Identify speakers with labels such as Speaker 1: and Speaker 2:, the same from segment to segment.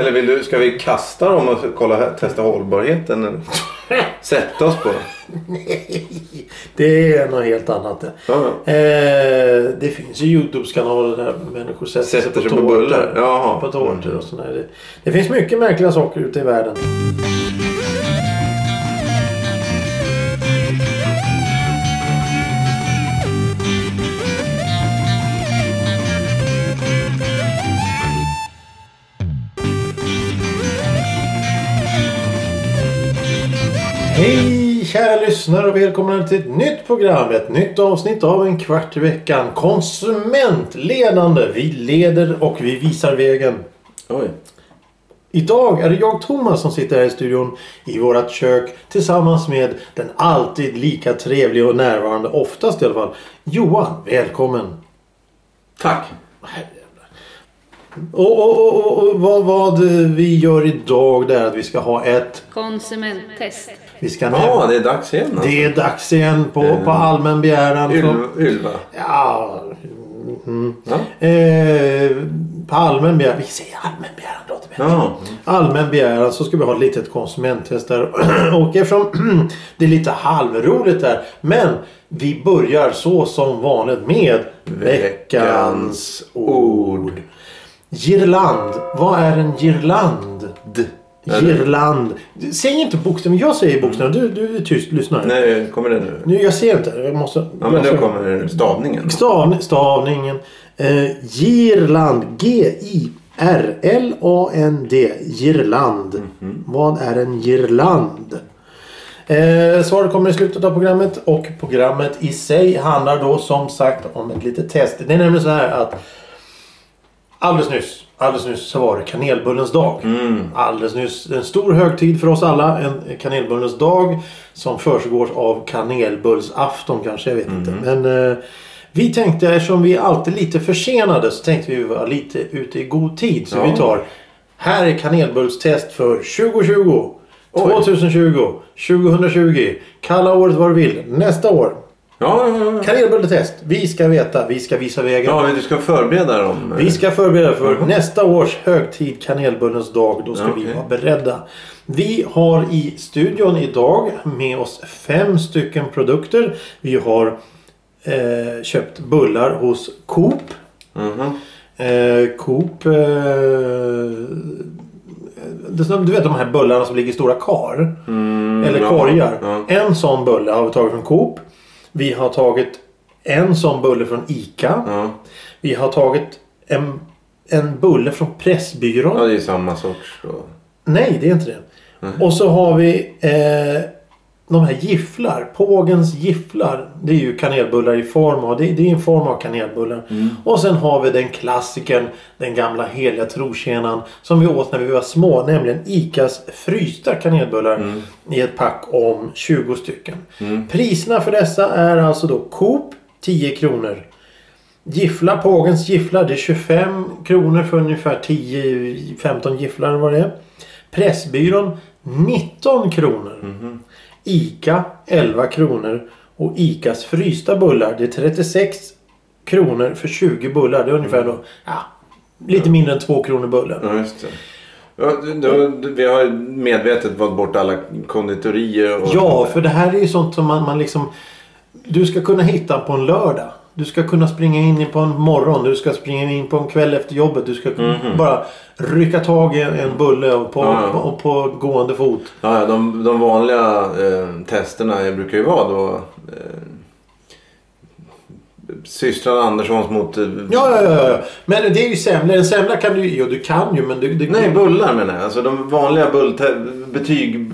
Speaker 1: Eller vill du, ska vi kasta dem och kolla, här- testa hållbarheten? Eller? Sätta oss på dem?
Speaker 2: Nej, det är något helt annat. det.
Speaker 1: Ja.
Speaker 2: Eh, det finns ju Youtube-kanaler där människor sätter,
Speaker 1: Sätter sig
Speaker 2: sig
Speaker 1: på
Speaker 2: på tårtor.
Speaker 1: bullar. Jaha. Mm.
Speaker 2: På tårtor och sådär. Det, det finns mycket märkliga saker ute i världen. Hej kära lyssnare och välkomna till ett nytt program. Ett nytt avsnitt av En kvart i veckan. Konsumentledande. Vi leder och vi visar vägen.
Speaker 1: Oj.
Speaker 2: Idag är det jag Thomas som sitter här i studion i vårat kök tillsammans med den alltid lika trevliga och närvarande, oftast i alla fall, Johan. Välkommen!
Speaker 1: Tack.
Speaker 2: Och, och, och, och, och vad, vad vi gör idag det är att vi ska ha ett...
Speaker 3: Konsumenttest.
Speaker 2: Vi ska
Speaker 1: Ja, Mm. det är dags igen. Alltså.
Speaker 2: Det är dags igen på, på allmän begäran. Från,
Speaker 1: Ylva. Ylva.
Speaker 2: ja, mm,
Speaker 1: Ja.
Speaker 2: eh, på allmän begäran. Vi säger allmän begäran. det låter bättre.
Speaker 1: Ja.
Speaker 2: allmän begäran så ska vi ha ett litet konsumenttest där. Och eftersom det är lite halvroligt där. Men vi börjar så som vanligt med veckans ord. Girland. Vad är en girland? Girland. Säg inte bokstäver. Jag säger bokstäver. Du, du är tyst lyssnare.
Speaker 1: Mm. Nej, kommer det nu?
Speaker 2: Nu, jag ser inte. Jag måste...
Speaker 1: Ja, men
Speaker 2: måste...
Speaker 1: nu kommer stavningen.
Speaker 2: Stav, stavningen. Eh, Girland. G-I-R-L-A-N-D. Girland. Vad är en girland? Eh, svaret kommer i slutet av programmet och programmet i sig handlar då som sagt om ett litet test. Det är nämligen så här att alldeles nyss, alldeles nyss så var det kanelbullens dag.
Speaker 1: Mm.
Speaker 2: Alldeles nyss en stor högtid för oss alla. En kanelbullens dag som försiggår av kanelbullsafton kanske, jag vet inte.
Speaker 1: Mm.
Speaker 2: Men eh, vi tänkte eftersom vi är alltid lite försenade så tänkte vi vara lite ute i god tid. Så
Speaker 1: Ja.
Speaker 2: vi tar här är kanelbullstest för 2020.
Speaker 1: Oj.
Speaker 2: 2020, 2020, kalla året vad du vill, nästa år.
Speaker 1: Ja, ja, ja.
Speaker 2: Kanelbulletest, vi ska veta, vi ska visa vägen.
Speaker 1: ja, men du ska förbereda dem.
Speaker 2: Vi ska förbereda för nästa års högtid, kanelbullens dag. Då ska
Speaker 1: Ja,
Speaker 2: vi
Speaker 1: okej.
Speaker 2: vara beredda. Vi har i studion idag med oss fem stycken produkter. Vi har eh, köpt bullar hos Coop.
Speaker 1: Mhm.
Speaker 2: Eh, Coop... Eh, det är som- du vet de här bullarna som ligger i stora kar? eller
Speaker 1: Mm, ja,
Speaker 2: korgar.
Speaker 1: ja.
Speaker 2: En sån bulle har vi tagit från Coop. Vi har tagit en sån bulle från ICA.
Speaker 1: Ja.
Speaker 2: Vi har tagit en, en bulle från Pressbyrån.
Speaker 1: ja, det är samma sorts. Då.
Speaker 2: Nej, det är inte det. Och så har vi eh, de här gifflar. Pågens gifflar. Det är ju kanelbullar i form av. Det, det är en form av kanelbullar. Och sen har vi den klassikern. Den gamla heliga trotjänaren. Som vi åt när vi var små. Nämligen ICAs frysta kanelbullar. I ett pack om 20 stycken. Priserna för dessa är alltså då Coop 10 kronor. Giffla, Pågens gifflar, det är 25 kronor för ungefär 10-15 gifflar eller vad det är. Pressbyrån 19 kronor. ICA 11 kronor. Och ICAs frysta bullar, det är 36 kronor för 20 bullar. Det är ungefär då, ja, lite mindre än 2 kronor bullen.
Speaker 1: Ja, just det. Ja, då, vi har ju medvetet valt bort alla konditorier. Och
Speaker 2: Ja, för det här är ju sånt som man, man liksom... Du ska kunna hitta på en lördag. Du ska kunna springa in på en morgon. Du ska springa in på en kväll efter jobbet. Du ska bara rycka tag i en bulle och på,
Speaker 1: Mhm. Ja, ja.
Speaker 2: på, på gående fot.
Speaker 1: Ja, ja, de, de vanliga eh, testerna brukar ju vara då eh, systrarna Anderssons mot... eh,
Speaker 2: Ja, ja, ja. ja. Men det är ju semla. En semla kan du ju... Ja, du kan ju men du... du
Speaker 1: Nej, bullar menar jag. Alltså de vanliga bulltä- betyg...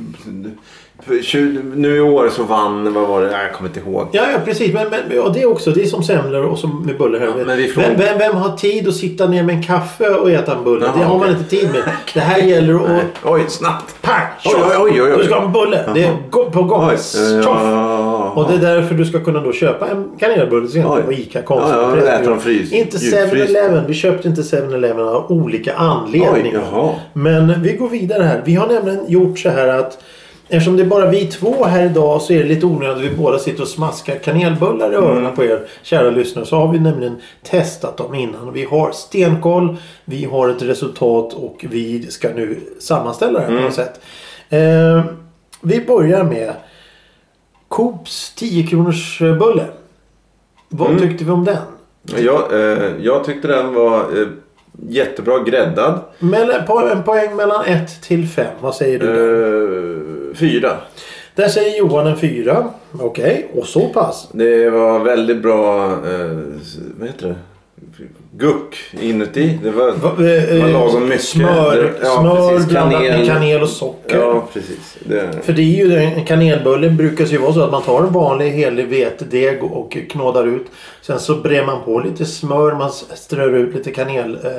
Speaker 1: för tju- Nu i år så vann, vad var det? Nej, Jag kommer inte ihåg.
Speaker 2: Ja, ja precis. Men, men och det är också. Det är som semlor och som med bullar.
Speaker 1: Ja, men vi får-
Speaker 2: vem, vem, vem har tid att sitta ner med en kaffe och äta en bulle?
Speaker 1: Jaha,
Speaker 2: det har man
Speaker 1: okej.
Speaker 2: inte tid med. Det här gäller att...
Speaker 1: Nej. Oj, snabbt!
Speaker 2: Pang!
Speaker 1: Oj,
Speaker 2: tjoff!
Speaker 1: oj, oj, oj, oj.
Speaker 2: Du ska ha en bulle. Det är gå- på gång.
Speaker 1: Oj.
Speaker 2: Tjoff!
Speaker 1: Ja.
Speaker 2: Och det är därför du ska kunna då köpa en kanelbulle till exempel
Speaker 1: Oj.
Speaker 2: på ICA Konsum.
Speaker 1: Ja, ja,
Speaker 2: Pressbyrån.
Speaker 1: äter de frys-
Speaker 2: Inte
Speaker 1: djupfryst.
Speaker 2: 7-Eleven. Vi köpte inte 7-Eleven av olika
Speaker 1: Oj,
Speaker 2: anledningar.
Speaker 1: jaha.
Speaker 2: Men vi går vidare här. Vi har nämligen gjort så här att Eftersom det är bara vi två här idag så är det lite onödigt att vi båda sitter och smaskar kanelbullar i öronen på er kära lyssnare. Så har vi nämligen testat dem innan. Vi har stenkoll, vi har ett resultat och vi ska nu sammanställa det här
Speaker 1: Mm.
Speaker 2: på något sätt. Eh, vi börjar med Coops 10 kronors bulle. Vad
Speaker 1: Mm.
Speaker 2: tyckte vi om den?
Speaker 1: Jag, eh, jag tyckte den var eh, jättebra gräddad.
Speaker 2: Men på en poäng mellan 1 till 5. Vad säger du? där?
Speaker 1: Eh, fyra.
Speaker 2: Där säger Johan en 4. Okej, och så pass.
Speaker 1: Det var väldigt bra... Eh, vad heter det? Guck inuti. Det var,
Speaker 2: Va- eh,
Speaker 1: det var
Speaker 2: eh,
Speaker 1: lagom mycket.
Speaker 2: Smör,
Speaker 1: Det- ja,
Speaker 2: smör
Speaker 1: precis.
Speaker 2: blandat med
Speaker 1: Kanel.
Speaker 2: kanel och socker.
Speaker 1: Ja, precis. Det,
Speaker 2: För det är ju en kanelbulle brukar ju vara så att man tar en vanlig helig vetedeg och knådar ut. Sen så brer man på lite smör. Man strör ut lite kanel, eh,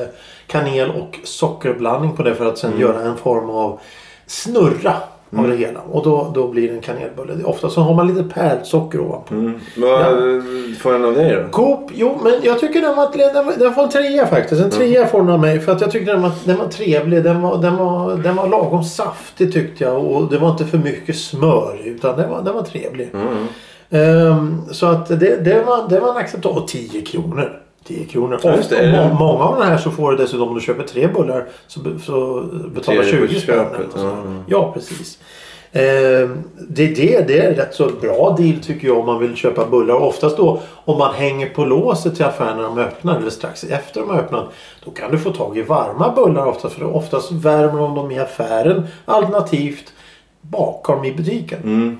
Speaker 2: kanel och sockerblandning på det för att
Speaker 1: Mm.
Speaker 2: sen göra en form av snurra av det hela. Och då, då blir det en kanelbulle. Ofta så har man lite pärlsocker ovanpå.
Speaker 1: mm. Vad får den av dig då?
Speaker 2: Coop, jo men jag tycker den var, den, var- den får en trea faktiskt. En trea
Speaker 1: Mm.
Speaker 2: får den av mig för att jag tyckte den var, den var trevlig. Den var, den, var, den var lagom saftig tyckte jag och det var inte för mycket smör utan den var, den var trevlig.
Speaker 1: Mm.
Speaker 2: Ehm, så att det, det, var, det var en acceptabel. Och 10 kronor. 10 kronor.
Speaker 1: Ja, just det.
Speaker 2: Och
Speaker 1: Är det-
Speaker 2: må, många av de här så får du dessutom om du köper tre bullar så, be- så betalar
Speaker 1: Tre på
Speaker 2: 20 spänn. eller
Speaker 1: köpet,
Speaker 2: något sånt.
Speaker 1: ja.
Speaker 2: Ja precis. Ehm, Det är, det, det är en rätt så bra deal tycker jag om man vill köpa bullar. Oftast då om man hänger på låset till affären när de öppnar eller strax efter de har öppnat. Då kan du få tag i varma bullar oftast. För oftast värmer de dem i affären alternativt bakar dem i butiken.
Speaker 1: Mm.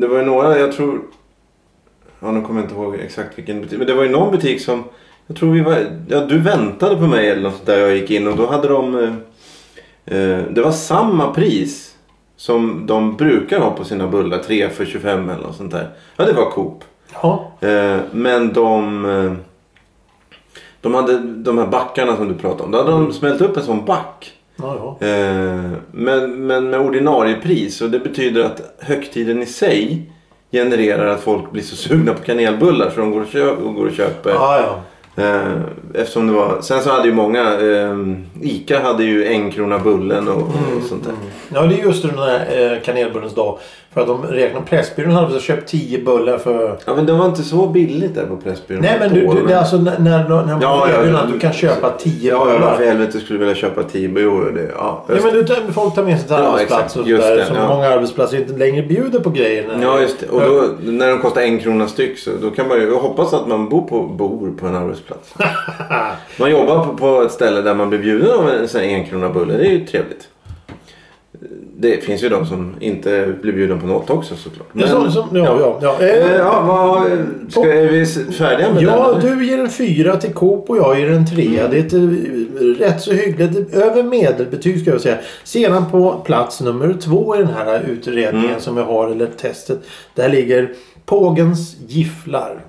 Speaker 1: Det var ju några, jag tror... Ja, nu kommer jag inte ihåg exakt vilken butik. Men det var ju någon butik som... Jag tror vi var... Ja, du väntade på mig eller något sånt där jag gick in och då hade de... eh, Eh, det var samma pris som de brukar ha på sina bullar. 3 för 25 eller något sånt där. Ja, det var Coop.
Speaker 2: Ja.
Speaker 1: Eh, men de... Eh, de hade de här backarna som du pratade om. Då hade
Speaker 2: Mm.
Speaker 1: de smält upp en sån back.
Speaker 2: Ja, ja.
Speaker 1: Eh, Men, men med ordinarie pris och det betyder att högtiden i sig genererar att folk blir så sugna på kanelbullar så de går och, kö- och, går och köper.
Speaker 2: Ja, ja.
Speaker 1: Eh, Eftersom det var... Sen så hade ju många... Eh, Ica hade ju en krona bullen och,
Speaker 2: Mm,
Speaker 1: och sånt där.
Speaker 2: Ja, det är just den där eh, kanelbullens dag. För att de räknar Pressbyrån hade väl köpt 10 bullar för...
Speaker 1: Ja men det var inte så billigt där på Pressbyrån.
Speaker 2: Nej men du, du, det är alltså när, när, när man
Speaker 1: Ja, ja,
Speaker 2: erbjuder
Speaker 1: ja.
Speaker 2: att du kan köpa 10
Speaker 1: Ja,
Speaker 2: bullar.
Speaker 1: ja för helvete skulle vilja köpa Tibo. Jo, det... Ja,
Speaker 2: Ja, men du, tar- folk tar med sig till
Speaker 1: Ja,
Speaker 2: arbetsplats
Speaker 1: exakt.
Speaker 2: och
Speaker 1: Just
Speaker 2: sådär.
Speaker 1: det,
Speaker 2: Som
Speaker 1: ja.
Speaker 2: många arbetsplatser inte längre bjuder på grejer. när-
Speaker 1: Ja just det. Och då, när de kostar en krona styck så då kan man ju jag hoppas att man bor på, bor på en arbetsplats. man jobbar på, på ett ställe där man blir bjuden av en sån här en krona bulle. Det är ju trevligt. Det finns ju de som inte blir bjuden på något också såklart.
Speaker 2: Ja, som, som, ja, ja. ja.
Speaker 1: Eh,
Speaker 2: Eh,
Speaker 1: ja, vad, ska, är vi s- färdiga med den?
Speaker 2: ja
Speaker 1: eller?
Speaker 2: du ger en fyra till Coop och jag ger en trea.
Speaker 1: Mm.
Speaker 2: Det är ett eh, rätt så hyggligt över medelbetyg ska jag säga. Sedan på plats nummer två i den här utredningen
Speaker 1: Mm.
Speaker 2: som vi har, eller testet. Där ligger Pågens gifflar.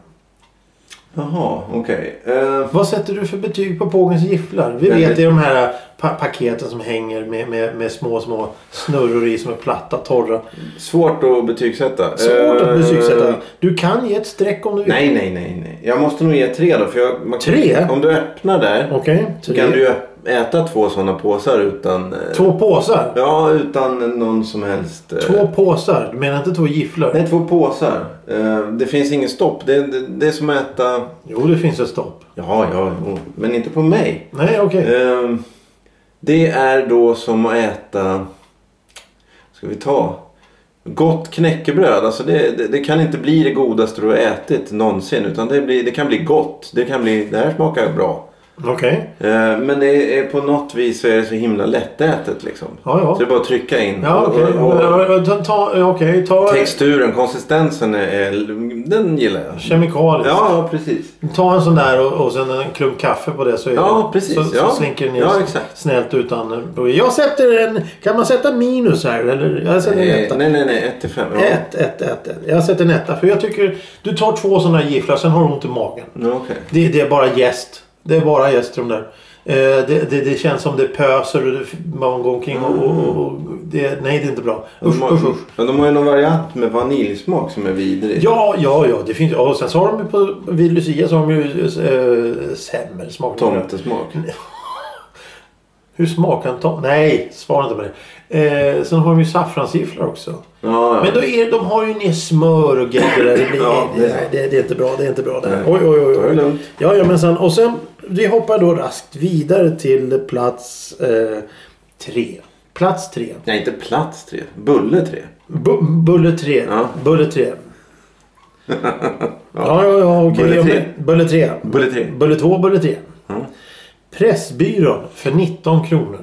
Speaker 1: Jaha, okej. Eh,
Speaker 2: Vad sätter du för betyg på Pågens gifflar? Vi
Speaker 1: Nej,
Speaker 2: vet
Speaker 1: det-
Speaker 2: det är de här pa- paketen som hänger med, med, med små, små snurror i som är platta, torra.
Speaker 1: svårt att betygsätta.
Speaker 2: Svårt
Speaker 1: Eh,
Speaker 2: att betygsätta. Du kan ge ett streck om du vill.
Speaker 1: Nej, nej, nej, nej. Jag måste nog ge tre då. För jag, man,
Speaker 2: Tre?
Speaker 1: Om du öppnar där.
Speaker 2: Okej.
Speaker 1: Så
Speaker 2: tre.
Speaker 1: kan du ju äta två sådana påsar utan... eh,
Speaker 2: Två påsar?
Speaker 1: Ja, utan någon som helst... eh,
Speaker 2: Två påsar? Du menar inte två gifflar?
Speaker 1: Nej, två påsar. Eh, Det finns ingen stopp. Det, det, det är som att äta...
Speaker 2: Jo, det finns ett stopp.
Speaker 1: Ja, ja, jo, men inte på mig.
Speaker 2: Nej, okej.
Speaker 1: Eh, Det är då som att äta... Ska vi ta? Gott knäckebröd. Alltså det, det, det kan inte bli det godaste du har ätit någonsin. Utan det, blir, det kan bli gott. Det kan bli... Det här smakar bra.
Speaker 2: Okej.
Speaker 1: Eh, Men det är, på något vis så är det så himla lättätet liksom.
Speaker 2: Ja, ja.
Speaker 1: Så det är bara att trycka in.
Speaker 2: Ja, okej.
Speaker 1: Och- och- och
Speaker 2: Ja, Ta, ta, ja, okej, ta
Speaker 1: Texturen, konsistensen, är, är, den gillar jag.
Speaker 2: kemikalier.
Speaker 1: Ja, precis.
Speaker 2: Ta en sån där och, och sen en klump kaffe på det så, är
Speaker 1: Ja,
Speaker 2: det,
Speaker 1: precis,
Speaker 2: så,
Speaker 1: ja.
Speaker 2: så slinker den ner
Speaker 1: Ja, exakt.
Speaker 2: snällt utan... Jag sätter en... Kan man sätta minus här? Eller? Jag sätter en
Speaker 1: Eh,
Speaker 2: etta.
Speaker 1: Nej, nej, nej. 1 till 5. Ja.
Speaker 2: Ett, ett, ett, ett. Jag sätter en etta. För jag tycker... Du tar två såna här gifflar, sen har du ont i magen.
Speaker 1: Ja, Okej.
Speaker 2: Det, det är bara gäst. Det är bara gäst de där. Eh, Det, det, det känns som det pöser och det, man går omkring och... och, och, och det, nej, det är inte bra.
Speaker 1: De,
Speaker 2: Usch, usch,
Speaker 1: har-
Speaker 2: usch.
Speaker 1: men de har ju någon variant med vaniljsmak som är vidrig.
Speaker 2: Ja, ja, ja. Det finns, ja, och sen så har de ju på... Vid eh, Lucia så har de ju äh, semmelsmak.
Speaker 1: Tomtesmak.
Speaker 2: Hur smakar en tomt? Nej, svara inte på det. Eh, sen har de ju saffransgifflar också.
Speaker 1: Ja,
Speaker 2: Men då är, de har ju ner smör och grejer där. Det, blir,
Speaker 1: Ja, det-
Speaker 2: det, nej, det, det är inte bra. Det är inte bra. Där.
Speaker 1: Nej.
Speaker 2: Oj, oj, oj.
Speaker 1: Ta det
Speaker 2: oj.
Speaker 1: lugnt.
Speaker 2: Ja, ja, men sen, och sen, vi hoppar då raskt vidare till plats eh, tre. Plats tre.
Speaker 1: Nej, inte plats tre. Bulle tre.
Speaker 2: Bu- Bulle 3.
Speaker 1: Ja.
Speaker 2: Bulle 3. Ja, ja, ja,
Speaker 1: Bulle
Speaker 2: okej.
Speaker 1: tre.
Speaker 2: Bulle 3.
Speaker 1: Bulle tre.
Speaker 2: Bulle 2, Bulle 3.
Speaker 1: Ja.
Speaker 2: Pressbyrån för 19 kronor.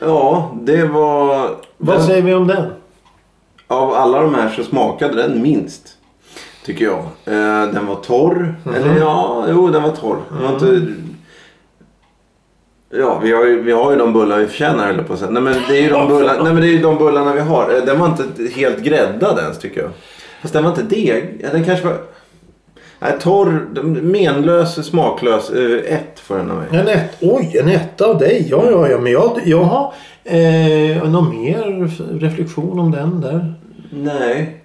Speaker 1: Ja, det var...
Speaker 2: Vad
Speaker 1: den,
Speaker 2: säger vi om den?
Speaker 1: av alla de här så smakade den minst. Tycker jag. Eh, den var torr.
Speaker 2: Mhm.
Speaker 1: Eller ja, jo den var torr. Den var inte... Ja, vi har, ju, vi har ju de bullar vi förtjänar höll jag på att säga. Nej men det är ju de bullarna, nej, men det är ju de bullarna vi har. Eh, Den var inte helt gräddad ens tycker jag. Fast den var inte deg. Ja, Den kanske var... Nej, torr, menlös, smaklös. eh, Ett får den av mig.
Speaker 2: En ett, oj, en etta av dig. Ja, ja, ja. Men jag, jag har eh, någon mer reflektion om den där.
Speaker 1: Nej.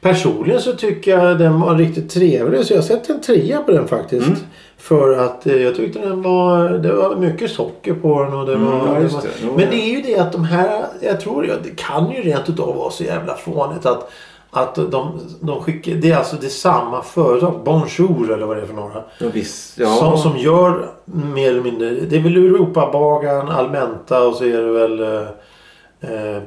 Speaker 2: Personligen så tycker jag den var riktigt trevlig så jag sätter en trea på den faktiskt.
Speaker 1: Mm.
Speaker 2: För att eh, jag tyckte den var... Det var mycket socker på den och det var...
Speaker 1: Mm, ja, just
Speaker 2: var-
Speaker 1: det. Jo,
Speaker 2: Men
Speaker 1: ja.
Speaker 2: det är ju det att de här... Jag tror jag, det kan ju rent utav vara så jävla fånigt att... Att de, de skickar... Det är alltså det är samma företag. Bonjour eller vad det är för några.
Speaker 1: Ja, visst. Ja.
Speaker 2: Som, som gör mer eller mindre... Det är väl Europabagaren, Almenta och så är det väl eh, eh,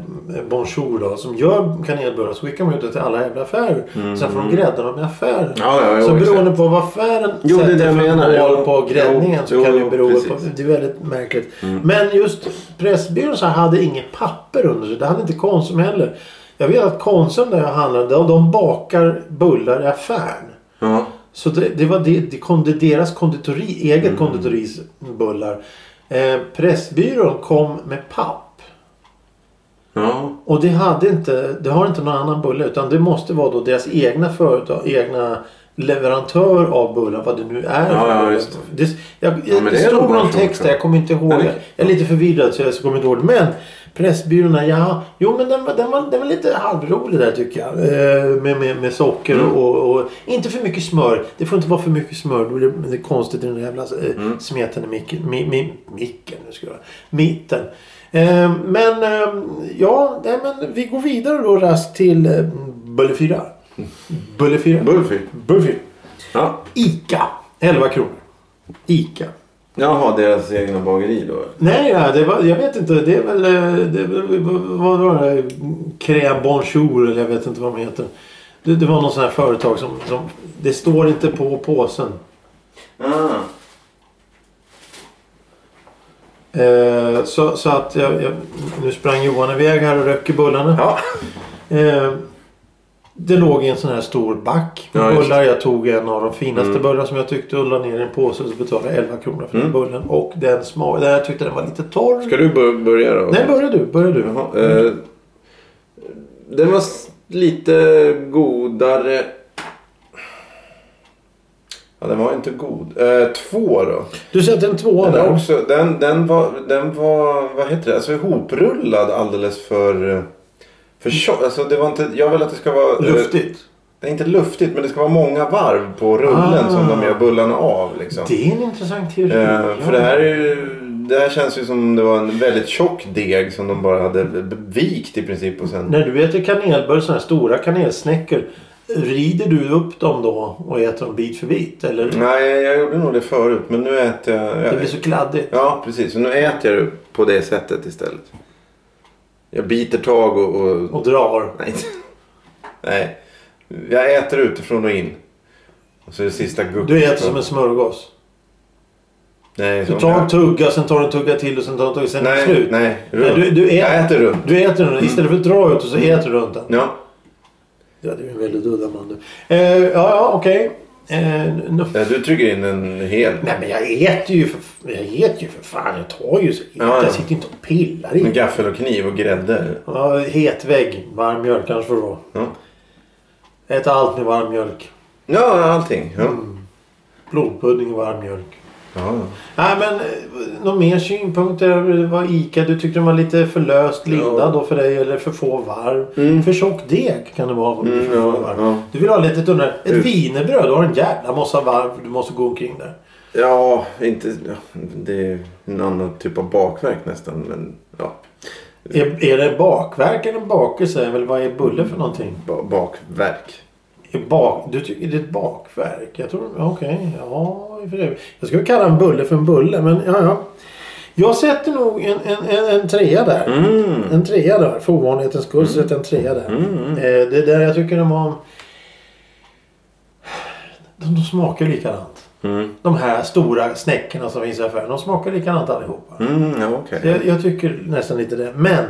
Speaker 2: Bonjour då. Som gör kanelbullar så skickar man ut det till alla jävla affärer. Sen får de grädda dem i affären.
Speaker 1: Ja, Mm. ja, jo,
Speaker 2: så beroende
Speaker 1: exakt.
Speaker 2: på vad affären
Speaker 1: Jo, det är det jag
Speaker 2: för
Speaker 1: menar. Jo,
Speaker 2: mål på gräddningen så
Speaker 1: jo,
Speaker 2: kan det
Speaker 1: jo,
Speaker 2: bero på...
Speaker 1: precis. Mm.
Speaker 2: Det är väldigt märkligt. Men just Pressbyrån så här hade inget papper under sig. Det hade inte Konsum heller. Jag vet att Konsum där jag handlade, de- de bakar bullar i affären.
Speaker 1: Ja.
Speaker 2: Så det, det var det, det kom, det deras konditori,
Speaker 1: Mm.
Speaker 2: eget konditoris bullar. Eh, Pressbyrån kom med papp.
Speaker 1: Ja.
Speaker 2: Och det, hade inte, det har inte någon annan bulle utan det måste vara då deras egna företag, egna leverantör av bullar, vad det nu är.
Speaker 1: Ja,
Speaker 2: för
Speaker 1: ja,
Speaker 2: bullar.
Speaker 1: just
Speaker 2: det. jag,
Speaker 1: men
Speaker 2: det
Speaker 1: det är nog
Speaker 2: stod
Speaker 1: bara
Speaker 2: någon
Speaker 1: så,
Speaker 2: text
Speaker 1: tror
Speaker 2: där,
Speaker 1: jag.
Speaker 2: jag kommer inte ihåg.
Speaker 1: Nej,
Speaker 2: det.
Speaker 1: det-
Speaker 2: Jag är lite förvirrad så jag kommer inte ihåg det. Men Pressbyråerna, ja. Jo men den, var- den, var, den var lite halvrolig där tycker jag. Eh, med, med, med socker och, och inte för mycket smör. Det får inte vara för mycket smör. Då blir det- det är konstigt i den där jävla eh, smeten i micken. Mi, mi, micken nu ska jag göra. Mitten. Eh, men eh, ja, nej, men vi går vidare då rast till eh, Bulle 4. Bulle 4.
Speaker 1: Bullfy.
Speaker 2: Bulle 4.
Speaker 1: Ja.
Speaker 2: Ica. 11 kronor. Ica.
Speaker 1: Jaha, deras egna bageri då?
Speaker 2: Nej, ja, det var, jag vet inte. Det är väl... eh, Det, var- vad var det? Crème Bonjour eller jag vet inte vad de heter. Det, det var någon sån här företag som, som... Det står inte på påsen.
Speaker 1: Ah.
Speaker 2: Eh, så, så att jag, jag, Nu sprang Johan iväg här och röker bullarna.
Speaker 1: Ja.
Speaker 2: Eh, det låg i en sån här stor back med
Speaker 1: Ja, just Mm.
Speaker 2: bullar. Jag tog en av de finaste bullarna som jag tyckte och la ner i en påse. Och så betalade jag 11 kronor för den bullen. Och den smak... den- Jag tyckte den var lite torr.
Speaker 1: Ska du bör- börja då?
Speaker 2: Nej, börja du. Börja du.
Speaker 1: Jaha, eh, den var s- lite godare. Ja, den var inte god. Eh, två då.
Speaker 2: Du sätter en tvåa
Speaker 1: Den,
Speaker 2: där.
Speaker 1: är också, den, den, var, den var, vad heter det, alltså ihoprullad alldeles för... eh, För tjock. Alltså, det var inte, jag vill att det ska vara... eh,
Speaker 2: Luftigt.
Speaker 1: Det är inte luftigt, men det ska vara många varv på rullen
Speaker 2: Ah.
Speaker 1: som de gör bullarna av. Liksom.
Speaker 2: Det är en intressant teori.
Speaker 1: Eh, för det här, är ju, det här känns ju som det var en väldigt tjock deg som de bara hade v- vikt i princip. Och sen...
Speaker 2: När du äter kanelbullar, sådana här stora kanelsnäckor. Rider du upp dem då och äter dem bit för bit? Eller?
Speaker 1: Nej, jag gjorde nog det förut, men nu äter jag...
Speaker 2: Det
Speaker 1: jag
Speaker 2: blir så kladdigt.
Speaker 1: Ja, precis. Så nu äter jag det på det sättet istället. Jag biter tag och... och...
Speaker 2: Och drar.
Speaker 1: Nej. Nej. Jag äter utifrån och in. Och så är det sista gupp.
Speaker 2: Du äter som en smörgås.
Speaker 1: Nej,
Speaker 2: Du
Speaker 1: som-
Speaker 2: tar en tugga, sen tar du en tugga till och sen tar du en tugga. Sen är det
Speaker 1: Nej,
Speaker 2: slut.
Speaker 1: nej.
Speaker 2: Nej,
Speaker 1: Runt.
Speaker 2: du, du,
Speaker 1: Jag
Speaker 2: äter,
Speaker 1: äter runt.
Speaker 2: du äter den. Istället för att dra ut och så äter du runt den.
Speaker 1: Ja.
Speaker 2: Ja, du är en väldigt udda man du. Eh, ja, ja, okej. Eh, nu-
Speaker 1: Ja, du trycker in en hel.
Speaker 2: Nej men jag äter ju för, jag äter ju för fan. Jag tar ju så.
Speaker 1: Ja, ja.
Speaker 2: Jag sitter ju inte och pillar i.
Speaker 1: Med gaffel och kniv och grädde.
Speaker 2: Ja, het vägg. Varm mjölk kanske får det vara.
Speaker 1: Ja,
Speaker 2: Äta allt med varm mjölk.
Speaker 1: ja allting. Ja.
Speaker 2: Blodpudding och varm mjölk.
Speaker 1: Ja, ja.
Speaker 2: Nej men, eh, några mer synpunkter? över Vad Ica, du tyckte den var lite för löst lindad
Speaker 1: Ja.
Speaker 2: då för dig eller för få varv. För tjock deg kan det vara. om det är
Speaker 1: Mm,
Speaker 2: för få
Speaker 1: ja,
Speaker 2: varv.
Speaker 1: ja.
Speaker 2: Du vill ha lite tunnare. Ett
Speaker 1: Ut.
Speaker 2: wienerbröd, du har en jävla massa varv du måste gå omkring där.
Speaker 1: Ja, inte... Ja, det är en annan typ av bakverk nästan. Men ja, Mm.
Speaker 2: Är, är det bakverk eller bakelse? Eller vad är bulle för någonting?
Speaker 1: ba- bakverk.
Speaker 2: Är Bak, du tycker det är ett bakverk? Jag tror... Okej. ja, för det. Jag skulle kalla en bulle för en bulle. Men ja, ja. Jag sätter nog en, en, en, en trea där.
Speaker 1: Mm.
Speaker 2: En trea där. För ovanlighetens skull så sätter jag en trea där.
Speaker 1: Mm.
Speaker 2: Eh, det där jag tycker de var... De, de smakar ju likadant.
Speaker 1: Mm.
Speaker 2: De här stora snäckorna som finns i affären. De smakar likadant allihopa.
Speaker 1: Mm, ja, okej.
Speaker 2: Jag, jag tycker nästan lite det. Men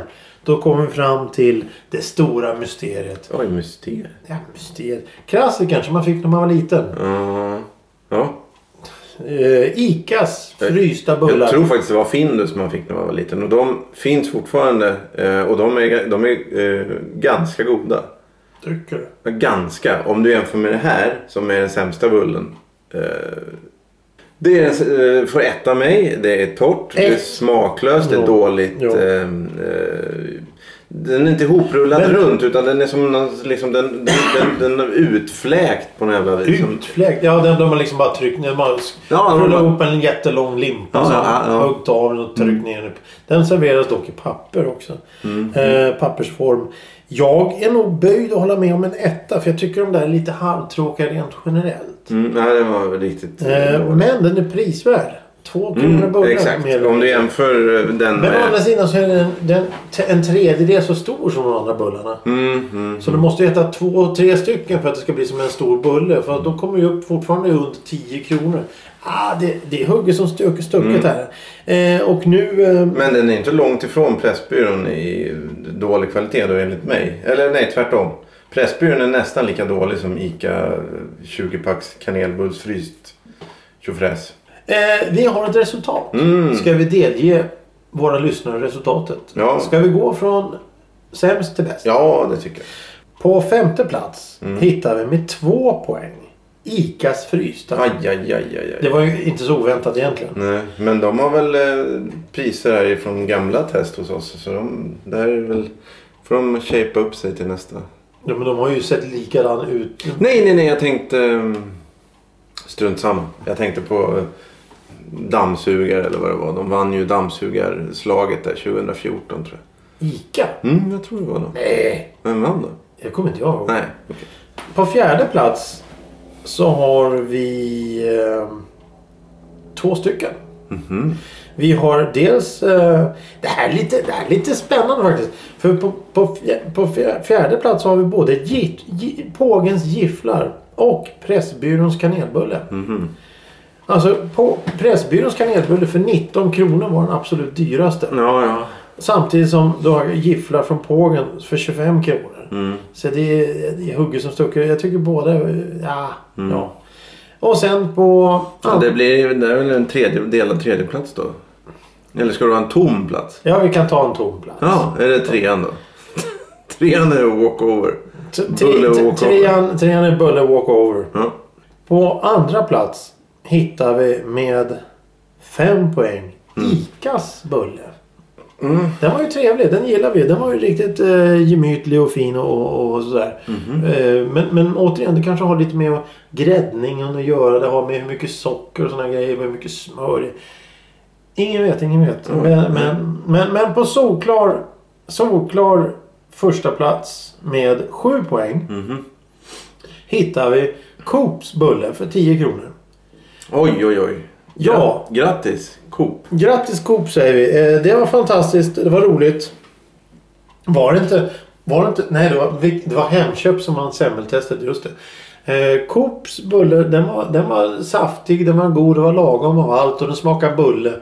Speaker 2: då kommer vi fram till det stora mysteriet.
Speaker 1: Oj, mysterier.
Speaker 2: Ja, mysteriet. Klassikern som man fick när man var liten.
Speaker 1: Ja. ja.
Speaker 2: Eh, Icas frysta bullar.
Speaker 1: Jag tror faktiskt det var Findus man fick när man var liten. Och de finns fortfarande. eh, Och de är, de är eh, ganska goda.
Speaker 2: Tycker du?
Speaker 1: Ja, Ganska. Om du jämför med det här som är den sämsta bullen. Eh, Det är, eh, får ett av mig. Det är torrt. Det är
Speaker 2: Ett.
Speaker 1: smaklöst. Det är
Speaker 2: Ja.
Speaker 1: dåligt.
Speaker 2: Ja.
Speaker 1: eh, eh, Den är inte ihoprullad
Speaker 2: Men-
Speaker 1: runt utan den är som någon, liksom den, den, den, den är utfläkt på något jävla vis. Som-
Speaker 2: Utfläkt. Ja, den de har liksom bara tryckt ner. Man
Speaker 1: Ja, de
Speaker 2: rullar
Speaker 1: bara-
Speaker 2: ihop en jättelång limpa.
Speaker 1: Ja,
Speaker 2: så
Speaker 1: ja,
Speaker 2: man
Speaker 1: ja. Mm.
Speaker 2: Högt av den och tryckt ner den. Den serveras dock i papper också. Eh, pappersform. Jag är nog böjd att hålla med om en etta. För jag tycker de där är lite halvtråkiga rent generellt.
Speaker 1: Mm, nej, den var riktigt eh,
Speaker 2: Eh,
Speaker 1: dålig.
Speaker 2: men den är prisvärd. Två kronor
Speaker 1: Mm,
Speaker 2: bullar.
Speaker 1: exakt.
Speaker 2: mer eller
Speaker 1: Om du
Speaker 2: mindre.
Speaker 1: jämför eh, den
Speaker 2: Men å andra
Speaker 1: med...
Speaker 2: sidan så är den, den t- en tredjedel så stor som de andra bullarna.
Speaker 1: Mm, mm.
Speaker 2: Så du måste äta två, tre stycken för att det ska bli som en stor bulle. För att då kommer ju upp fortfarande under 10 kronor. Ah, det, det är hugget som stucket,
Speaker 1: Mm.
Speaker 2: stucket här. Eh, och nu... Eh,
Speaker 1: Men den är inte långt ifrån Pressbyrån i dålig kvalitet då enligt mig. Eller nej, tvärtom. Pressbyrån är nästan lika dålig som ICA 20-packs kanelbullsfryst tjofräs.
Speaker 2: eh, vi har ett resultat.
Speaker 1: Mm.
Speaker 2: Ska vi delge våra lyssnare resultatet?
Speaker 1: Ja.
Speaker 2: Ska vi gå från sämst till bäst?
Speaker 1: Ja, Mm. det tycker jag.
Speaker 2: På femte plats hittar vi med två poäng ICAs frysta.
Speaker 1: Aj, aj, aj, aj,
Speaker 2: Det
Speaker 1: aj.
Speaker 2: var ju inte så oväntat egentligen.
Speaker 1: Nej, men de har väl eh, priser här ifrån gamla test hos oss. Så de, det här är väl... Får de shapea upp sig till nästa.
Speaker 2: Ja, men de har ju sett likadan ut.
Speaker 1: Nej, nej, nej. Jag tänkte... ehm, Strunt samma. Jag tänkte på eh, dammsugare eller vad det var. De vann ju dammsugarslaget där 2014 tror
Speaker 2: ICA?
Speaker 1: jag. Mm, jag tror det var de.
Speaker 2: Nej.
Speaker 1: Vem vann då?
Speaker 2: Det kommer inte jag ihåg.
Speaker 1: Nej. okej.
Speaker 2: På fjärde plats så har vi eh, två stycken. Vi har dels... Eh, det, här är lite, det här är lite spännande faktiskt. För på, på, fje- på fje- fjärde plats har vi både gi, gi, Pågens gifflar och Pressbyråns kanelbulle. Alltså på Pressbyråns kanelbulle för 19 kronor var den absolut dyraste.
Speaker 1: Ja, ja.
Speaker 2: Samtidigt som du har gifflar från Pågen för 25 kronor.
Speaker 1: Mm.
Speaker 2: Så det är, det är hugget som stucket. Jag tycker båda... Ja, ja. Och sen på...
Speaker 1: Mm. ja det, blir, det är väl en tredje, delad tredjeplats då? Eller ska du ha en tom plats?
Speaker 2: Ja, vi kan ta en tom plats.
Speaker 1: Ja, är det trean då? trean är walkover.
Speaker 2: T- tre-
Speaker 1: Bulle
Speaker 2: t-
Speaker 1: walkover.
Speaker 2: Trean, trean är Bulle Walkover.
Speaker 1: Ja.
Speaker 2: På andra plats hittar vi med fem poäng Icas Bulle. Den var ju trevlig. Den gillar vi. Den var ju riktigt eh, gemytlig och fin och, och sådär. Eh, men, men återigen, det kanske har lite med gräddningen att göra. Det har med hur mycket socker och sådana grejer. Hur mycket smör det är. Ingen vet, ingen vet. Men, men, men, men på solklar, solklar första plats med sju poäng hittar vi Coops bulle för 10 kronor.
Speaker 1: Oj, oj, oj.
Speaker 2: Ja.
Speaker 1: Gra- Grattis, Coop.
Speaker 2: Grattis Coop säger vi. Eh, Det var fantastiskt. Det var roligt. Var det inte... Var det inte nej, det var, Vic- det var Hemköp som vann semmeltestet. Just det. Eh, Coops bulle, den var, den var saftig, den var god, det var lagom av allt och den smakade bulle.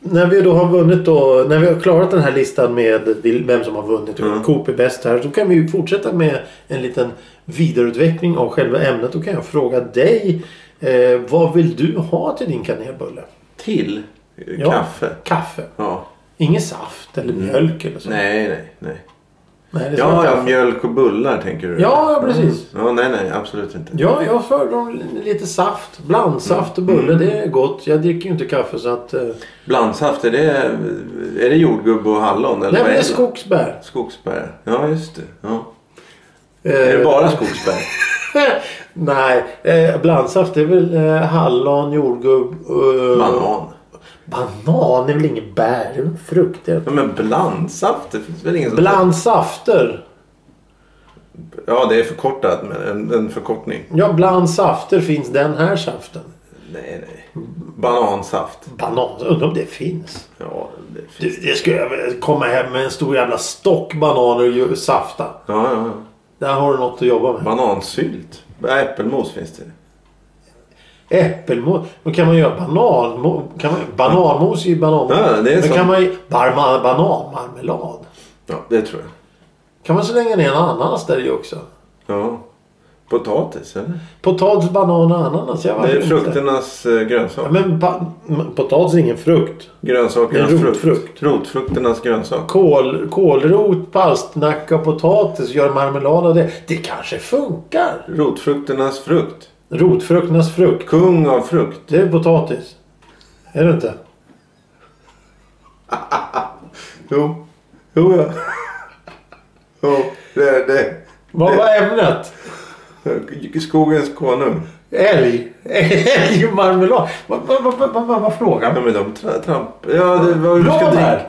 Speaker 2: När vi då har vunnit då, när vi har klarat den här listan med vil- vem som har vunnit och Coop är bäst här. Då kan vi ju fortsätta med en liten vidareutveckling av själva ämnet. Då kan jag fråga dig. Eh, vad vill du ha till din kanelbulle?
Speaker 1: Till eh,
Speaker 2: Ja.
Speaker 1: kaffe.
Speaker 2: Kaffe.
Speaker 1: Ja.
Speaker 2: Ingen saft eller mjölk eller så.
Speaker 1: Mm. Nej, nej, nej.
Speaker 2: Nej, det ska
Speaker 1: Ja,
Speaker 2: vara
Speaker 1: ja,
Speaker 2: kaffe.
Speaker 1: mjölk och bullar tänker du?
Speaker 2: Ja, ja, precis.
Speaker 1: Mm. Ja, nej, nej, absolut inte.
Speaker 2: ja, jag föredrar li- lite saft. Blandsaft och bulle,
Speaker 1: Mm.
Speaker 2: det är gott. Jag dricker ju inte kaffe så att... eh,
Speaker 1: Blandsaft, är det, är det jordgubbe och hallon? Eller
Speaker 2: Nej, men
Speaker 1: vad
Speaker 2: det är
Speaker 1: det?
Speaker 2: skogsbär.
Speaker 1: Skogsbär. Ja, just det. Ja.
Speaker 2: Eh,
Speaker 1: Är det bara skogsbär?
Speaker 2: Nej, eh, blandsaft det är väl eh, hallon, jordgubb... eh,
Speaker 1: Banan.
Speaker 2: Banan är väl inget bär? Det är väl frukter?
Speaker 1: Ja, men blandsaft? Det finns väl ingen som-
Speaker 2: Blandsafter.
Speaker 1: Ja, det är förkortat. Men en, en förkortning.
Speaker 2: Ja, blandsafter finns den här saften.
Speaker 1: Nej, nej. Banansaft.
Speaker 2: Banan, undrar om det finns?
Speaker 1: Ja, det finns.
Speaker 2: Du, det skulle jag väl komma hem med en stor jävla stock bananer och ju- safta.
Speaker 1: Ja, ja, ja.
Speaker 2: Där har du något att jobba med.
Speaker 1: Banansylt. Äppelmos finns det.
Speaker 2: Äppelmos. Då kan man göra bananmos. Kan man, bananmos är ju bananmos.
Speaker 1: Ja, det är
Speaker 2: Men
Speaker 1: så.
Speaker 2: kan man ju... Barma, bananmarmelad.
Speaker 1: Ja, det tror jag.
Speaker 2: Kan man slänga ner en ananas där i också?
Speaker 1: Ja. Potatis, eller?
Speaker 2: Potatis, banan och ananas. Ja,
Speaker 1: Det
Speaker 2: varför
Speaker 1: är
Speaker 2: inte?
Speaker 1: frukternas eh,
Speaker 2: Ja,
Speaker 1: grönsak.
Speaker 2: men ba- men potatis är ingen frukt.
Speaker 1: Grönsakernas
Speaker 2: Det är rotfrukt.
Speaker 1: frukt. Rotfrukternas grönsak.
Speaker 2: Kål, kålrot, palsternacka och potatis. Gör marmelad av det. Det kanske funkar.
Speaker 1: Rotfrukternas frukt.
Speaker 2: Rotfrukternas frukt.
Speaker 1: Kung av frukt.
Speaker 2: Det är potatis. Är det inte?
Speaker 1: Jo. Jo, ja. jo, det är det.
Speaker 2: Vad var ämnet?
Speaker 1: Skogens konung.
Speaker 2: Älg. Älgmarmelad. Vad va, va, va, va, va, vad frågar
Speaker 1: Ja,
Speaker 2: man?
Speaker 1: men de tra- tramp... Ja, det var du ska dricka.
Speaker 2: Blåbär.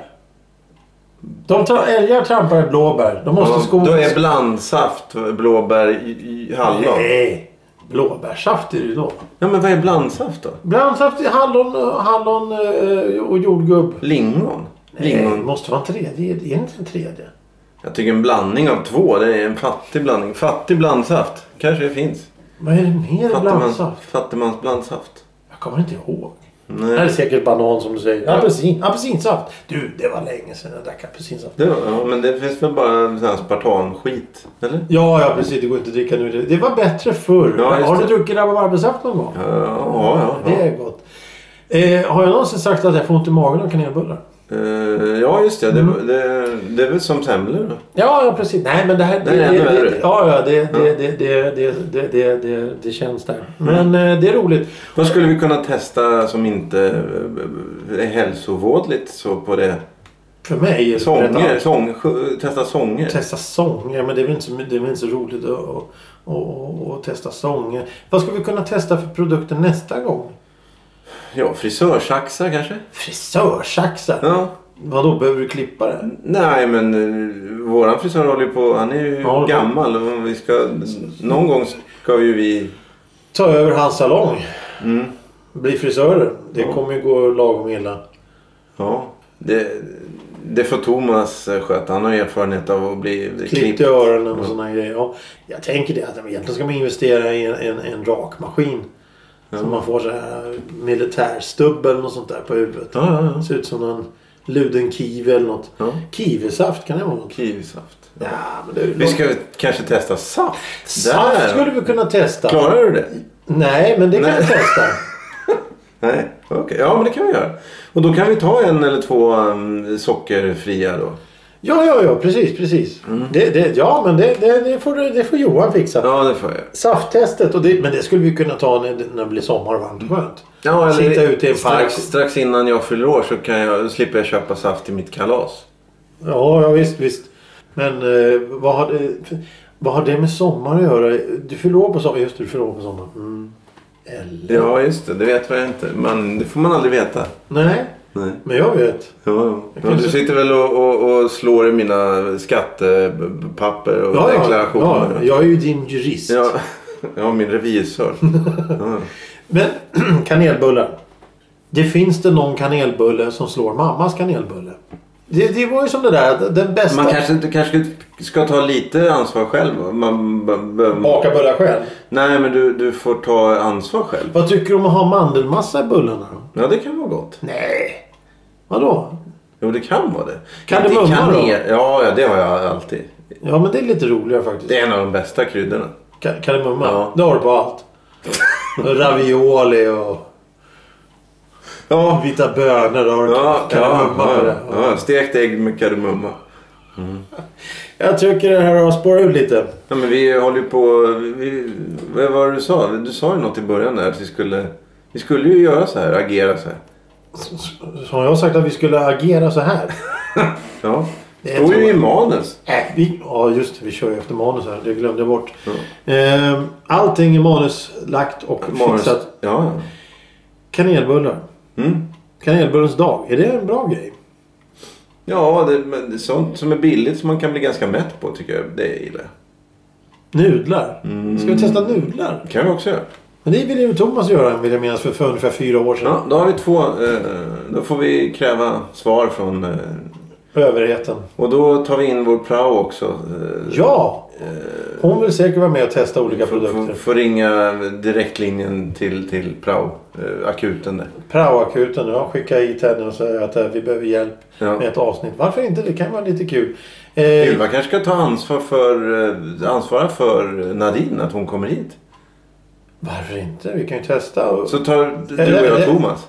Speaker 2: De tra- älgar trampar i blåbär. De måste
Speaker 1: Ja,
Speaker 2: sko...
Speaker 1: Då är blandsaft blåbär, i- i hallon.
Speaker 2: Nej. Blåbärssaft är det ju då.
Speaker 1: Ja, men vad är blandsaft då?
Speaker 2: Blandsaft i hallon, hallon eh, och jordgubb.
Speaker 1: Lingon?
Speaker 2: Nej,
Speaker 1: Lingon.
Speaker 2: måste vara en tredje. Är det inte en tredje?
Speaker 1: Jag tycker en blandning av två, det är en fattig blandning. Fattig blandsaft. Kanske det finns.
Speaker 2: Vad är det mer
Speaker 1: Fattigmans,
Speaker 2: blandsaft?
Speaker 1: fattigmans blandsaft.
Speaker 2: Jag kommer inte ihåg. Det här är
Speaker 1: Nej.
Speaker 2: säkert banan som du säger. Apelsin, apelsinsaft. Du, det var länge sedan jag drack apelsinsaft.
Speaker 1: Det var, ja, men det finns väl bara en sån här spartanskit? Eller?
Speaker 2: Ja, ja precis. Det går inte att dricka nu. Det- Det var bättre förr.
Speaker 1: Ja, just
Speaker 2: har du
Speaker 1: det.
Speaker 2: druckit rabarbersaft någon gång?
Speaker 1: Ja, ja, ja.
Speaker 2: Det är gott. Eh, har jag någonsin sagt att jag får ont i magen av kanelbullar?
Speaker 1: Eh, ja, just det. Det,
Speaker 2: Mm.
Speaker 1: det. det är väl som semlor då?
Speaker 2: Ja, ja precis. Nej, men det här...
Speaker 1: Det är ännu värre.
Speaker 2: ja, ja, det, det, det, det, det, det, det, det, det känns där. Men
Speaker 1: Mm.
Speaker 2: eh, det är roligt.
Speaker 1: Vad skulle vi kunna testa som inte eh, är hälsovådligt så på det?
Speaker 2: För mig... är det
Speaker 1: Sånger? Sång, sj- testa sånger?
Speaker 2: Testa sånger, men det är väl inte så, det är väl inte så roligt att, att, att, att testa sånger. Vad ska vi kunna testa för produkter nästa gång?
Speaker 1: Ja, frisörsaxar kanske?
Speaker 2: Frisörsaxar?
Speaker 1: Ja.
Speaker 2: Vadå, behöver du klippa det?
Speaker 1: Nej, men eh, våran frisör håller ju på. Han är ju
Speaker 2: Ja, håller på.
Speaker 1: gammal. Och vi ska, någon gång ska ju vi...
Speaker 2: Ta över hans salong.
Speaker 1: Mm.
Speaker 2: Bli frisörer. Det kommer ju gå lagom illa.
Speaker 1: Ja, det, det får Thomas eh, sköta. Han har erfarenhet av att bli bli
Speaker 2: Klippt
Speaker 1: klippt.
Speaker 2: i öronen och sådana grejer. Ja, jag tänker det att egentligen ska man investera i en, en, en rakmaskin. Så man får så här militärstubben och sånt där på huvudet.
Speaker 1: Ja, ja, ja.
Speaker 2: Det ser ut som en luden kiwi eller något.
Speaker 1: Ja.
Speaker 2: Kiwisaft kan det vara. något?
Speaker 1: Kiwisaft.
Speaker 2: Ja, men det är ju
Speaker 1: Vi ska väl kanske testa saft?
Speaker 2: Saft
Speaker 1: Där.
Speaker 2: skulle vi kunna testa.
Speaker 1: Klarar du det?
Speaker 2: Nej, men det kan
Speaker 1: Nej.
Speaker 2: vi testa.
Speaker 1: Nej, okej. Ja, men det kan vi göra. Och då kan vi ta en eller två um, sockerfria då.
Speaker 2: Ja, ja, ja, precis, precis. Det, det, ja, men det, det, det, får, du- det får Johan fixa.
Speaker 1: Mm. Ja, det får jag.
Speaker 2: Safttestet, och det, men det skulle vi kunna ta när, när det blir sommar och varmt och skönt.
Speaker 1: Ja, eller
Speaker 2: Sitta ute i en park.
Speaker 1: strax, strax innan jag fyller år så kan jag, då slipper jag köpa saft till mitt kalas.
Speaker 2: Ja, ja, visst, visst. Men eh, vad, har det, vad har det med sommar att göra? Du fyller år på sommaren. Just det, du fyller år på sommaren. Mm. Eller?
Speaker 1: Ja, just det. Det vet jag inte. Men det får man aldrig veta.
Speaker 2: Nej,
Speaker 1: Nej.
Speaker 2: men jag vet.
Speaker 1: Ja, ja. ja,
Speaker 2: kanske-
Speaker 1: du sitter väl och, och, och slår i mina skattepapper och
Speaker 2: Ja, ja,
Speaker 1: deklarationer?
Speaker 2: ja, jag är ju din jurist.
Speaker 1: Ja, ja, min revisor. Ja.
Speaker 2: Men kanelbullar. Det finns det någon kanelbulle som slår mammas kanelbulle. Det, det var ju som det där. Den bästa...
Speaker 1: Man kanske, inte- kanske ska ta lite ansvar själv. Man, man, man,
Speaker 2: Baka bullar själv.
Speaker 1: Nej, men du, du får ta ansvar själv.
Speaker 2: Vad tycker du om att ha mandelmassa i bullarna? då?
Speaker 1: Ja, det kan vara gott.
Speaker 2: Nej. Vadå?
Speaker 1: Jo, det kan vara det.
Speaker 2: Kan du
Speaker 1: Inte
Speaker 2: mumma då?
Speaker 1: kanel- Ja, ja, det har jag alltid.
Speaker 2: Ja men det är lite roligare faktiskt.
Speaker 1: Det är en av de bästa kryddorna.
Speaker 2: Ka- Kardemumma?
Speaker 1: Ja.
Speaker 2: Det har du på allt. Ravioli och
Speaker 1: Ja,
Speaker 2: vita bönor. Har du
Speaker 1: ja, ja,
Speaker 2: kardemumma på
Speaker 1: ja,
Speaker 2: det.
Speaker 1: ja. Stekt ägg med kardemumma.
Speaker 2: Jag tycker det här har spårat ut lite.
Speaker 1: Ja, men vi håller ju på... Vi, vad var det du sa? Du sa ju något i början där att vi skulle... Vi skulle ju göra så här, agera så här.
Speaker 2: S- s- Har jag sagt att vi skulle agera så här?
Speaker 1: Ja,
Speaker 2: Det
Speaker 1: står ju i manus.
Speaker 2: Äh, vi, ja, just det. Vi kör ju efter manus här. Det glömde jag bort.
Speaker 1: Ja.
Speaker 2: Ehm, allting är manuslagt och
Speaker 1: Manus. Ja,
Speaker 2: fixat.
Speaker 1: ja.
Speaker 2: Kanelbullar.
Speaker 1: Mm.
Speaker 2: Kanelbullens dag. Är det en bra grej?
Speaker 1: Ja, det, men det är sånt som är billigt som man kan bli ganska mätt på tycker jag. Det gillar jag.
Speaker 2: Nudlar.
Speaker 1: Mm.
Speaker 2: Ska vi testa nudlar?
Speaker 1: Det kan vi också göra.
Speaker 2: Men det ville ju Thomas göra vill jag minnas för, för ungefär fyra år sedan.
Speaker 1: Ja, då har vi två. Eh, då får vi kräva svar från... Eh,
Speaker 2: Överheten.
Speaker 1: och då tar vi in vår prao också. Eh,
Speaker 2: Ja! Eh, Hon vill säkert vara med och testa olika
Speaker 1: Får,
Speaker 2: produkter.
Speaker 1: får ringa direktlinjen till, till prao. Eh, akuten där.
Speaker 2: Praoakuten. Jag skickar hit henne och säger att eh, vi behöver hjälp
Speaker 1: Ja.
Speaker 2: med ett avsnitt. Varför inte? Det kan vara lite kul. Eh,
Speaker 1: Ylva kanske ska ta ansvar för, eh, ansvara för Nadine, att hon kommer hit.
Speaker 2: Varför inte? Vi kan ju testa. Och,
Speaker 1: Så tar
Speaker 2: Eller-
Speaker 1: du och jag
Speaker 2: eller-
Speaker 1: Thomas.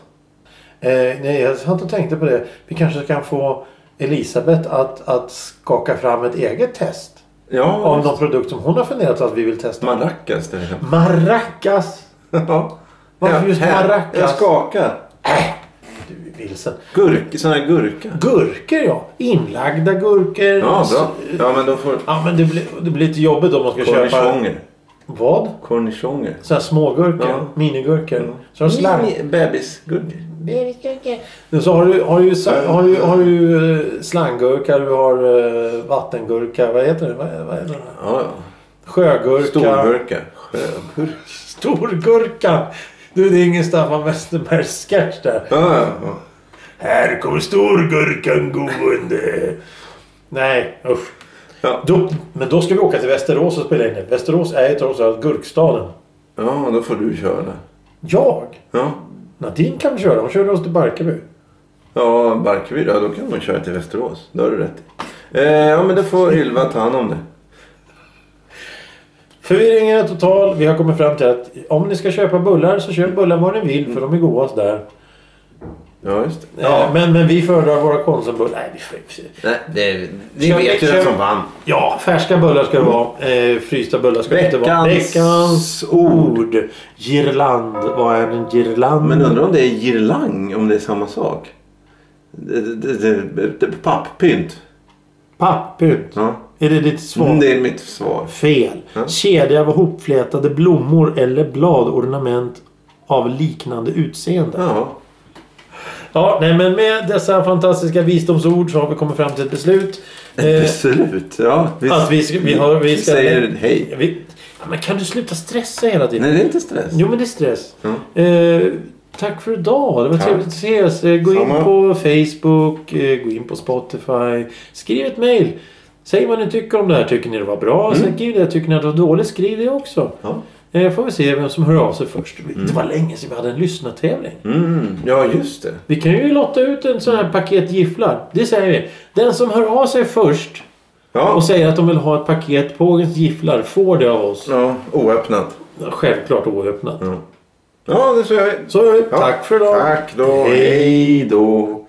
Speaker 2: eh, nej, jag har inte tänkt på det. Vi kanske kan få Elisabeth att, att skaka fram ett eget test.
Speaker 1: Ja,
Speaker 2: Av
Speaker 1: visst.
Speaker 2: någon produkt som hon har funderat att vi vill testa.
Speaker 1: Maracas till exempel.
Speaker 2: Maracas!
Speaker 1: Ja.
Speaker 2: Varför just
Speaker 1: Här.
Speaker 2: maracas?
Speaker 1: Jag skakar.
Speaker 2: Äh! Du är vilsen.
Speaker 1: Gurka, sån här gurka.
Speaker 2: Gurkor ja. Inlagda gurkor.
Speaker 1: Ja, bra. Ja, men då får...
Speaker 2: Ja, men det blir, det blir lite jobbigt om man ska köpa...
Speaker 1: Cornichoner.
Speaker 2: Vad?
Speaker 1: Cornichoner.
Speaker 2: Sådana smågurkor.
Speaker 1: Ja.
Speaker 2: Minigurkor. Så har du slang...
Speaker 1: Mini- Bebisgurka.
Speaker 2: Så har du, har du, sa- har du, har du eh, slanggurka, du har eh, vattengurka. Vad heter det? Vad, vad heter det?
Speaker 1: Ja,
Speaker 2: Sjögurka.
Speaker 1: ja. Storgurka. Sjögurka.
Speaker 2: Storgurka. Du, det är ingen Staffan Westerbergs sketch där.
Speaker 1: Ja, ja, ja.
Speaker 2: Här kommer storgurkan gående. Nej, usch.
Speaker 1: Ja.
Speaker 2: Då, men då ska vi åka till Västerås och spela in det. Västerås är ju trots allt gurkstaden.
Speaker 1: ja, då får du köra.
Speaker 2: Jag?
Speaker 1: Ja,
Speaker 2: Nadine kan köra. Hon körde oss till Barkarby.
Speaker 1: ja Barkarby då. Då kan man köra till Västerås. Då har du rätt i. eh, Ja, men då får Ylva ta hand om det.
Speaker 2: Förvirringen är total. Vi har kommit fram till att om ni ska köpa bullar så köp bullar var ni vill för de är godast där.
Speaker 1: Ja, just det.
Speaker 2: Eh, Men, men vi föredrar våra konsumbullar. Nej, vi får...
Speaker 1: Nej, det, ni
Speaker 2: Kör-
Speaker 1: vet ju
Speaker 2: kör-
Speaker 1: vem som vann.
Speaker 2: Ja, färska bullar ska det vara. Eh, frysta bullar ska det inte vara.
Speaker 1: Veckans
Speaker 2: Veckans ord. Girland. Vad är en girland?
Speaker 1: Men undrar om det är girlang, om det är samma sak. Det, det, det, det, det, papppynt.
Speaker 2: Pappynt.
Speaker 1: Ja.
Speaker 2: Är det ditt svar?
Speaker 1: Mm, det är mitt svar.
Speaker 2: Fel.
Speaker 1: Ja.
Speaker 2: Kedja av hopflätade blommor eller bladornament av liknande utseende.
Speaker 1: Ja.
Speaker 2: Ja, nej men med dessa fantastiska visdomsord så har vi kommit fram till ett beslut. Eh,
Speaker 1: Beslut. Ja, vi,
Speaker 2: att vi ska- vi har- vi ska-
Speaker 1: säger hej.
Speaker 2: vi, ja, men kan du sluta stressa hela tiden?
Speaker 1: Nej, det är inte stress.
Speaker 2: Jo, men det är stress.
Speaker 1: Mm.
Speaker 2: Eh, tack för idag. Det var
Speaker 1: Tack.
Speaker 2: trevligt att ses. Eh, Gå in
Speaker 1: Samma.
Speaker 2: på Facebook, eh, gå in på Spotify. Skriv ett mejl. Säg vad ni tycker om det här. Tycker ni det var bra? Mm. Skriv det. Tycker ni att det var dåligt? Skriv det också.
Speaker 1: Ja.
Speaker 2: Eh, får vi se vem som hör av sig först. Det var länge sedan vi hade en lyssnartävling.
Speaker 1: Mm, ja, just det.
Speaker 2: Vi kan ju lotta ut en sån här paket gifflar. Det säger vi. Den som hör av sig först
Speaker 1: Ja,
Speaker 2: och säger att de vill ha ett paket Pågens gifflar får det av oss.
Speaker 1: ja oöppnat.
Speaker 2: Självklart oöppnat.
Speaker 1: Ja, det så gör vi.
Speaker 2: Så
Speaker 1: Ja.
Speaker 2: tack för idag.
Speaker 1: Tack då.
Speaker 2: Hej.
Speaker 1: Hej då.